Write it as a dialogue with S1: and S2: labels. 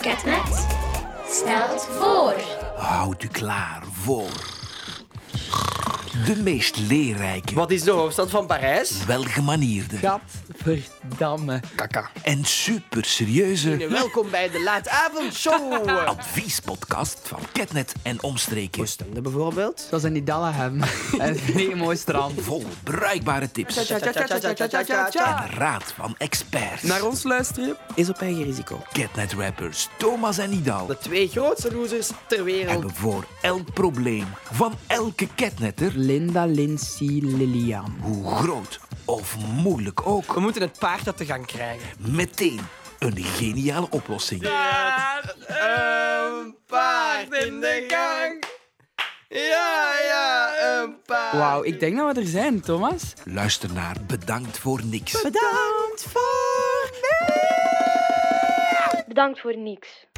S1: Ketnet stelt voor.
S2: Houd u klaar voor. De meest leerrijke,
S3: Wat is de hoofdstad van Parijs?
S2: welgemanierde
S4: Gadverdamme.
S3: Kaka.
S2: en superserieuze
S3: Welkom bij de Laatavondshow.
S2: adviespodcast van Ketnet en omstreken.
S3: Oostende bijvoorbeeld.
S4: Dat is in Dalhem. en niet een mooi strand.
S2: Vol bruikbare tips en raad van
S5: Naar
S2: experts.
S5: ons luisteren is op eigen risico.
S2: Ketnet rappers Thomas en Nidal
S3: De twee grootste losers ter wereld.
S2: hebben voor elk probleem van elke ketnetter,
S4: Linda, Lindsay, Lilian.
S2: hoe groot of moeilijk ook,
S5: We moeten het paard uit de gang krijgen.
S2: meteen een geniale oplossing.
S3: Een paard in de gang. Ja, ja, een paard.
S4: Wauw, ik denk dat we er zijn, Thomas.
S2: Luister naar Bedankt voor niks.
S3: Bedankt voor...
S6: Bedankt voor niks.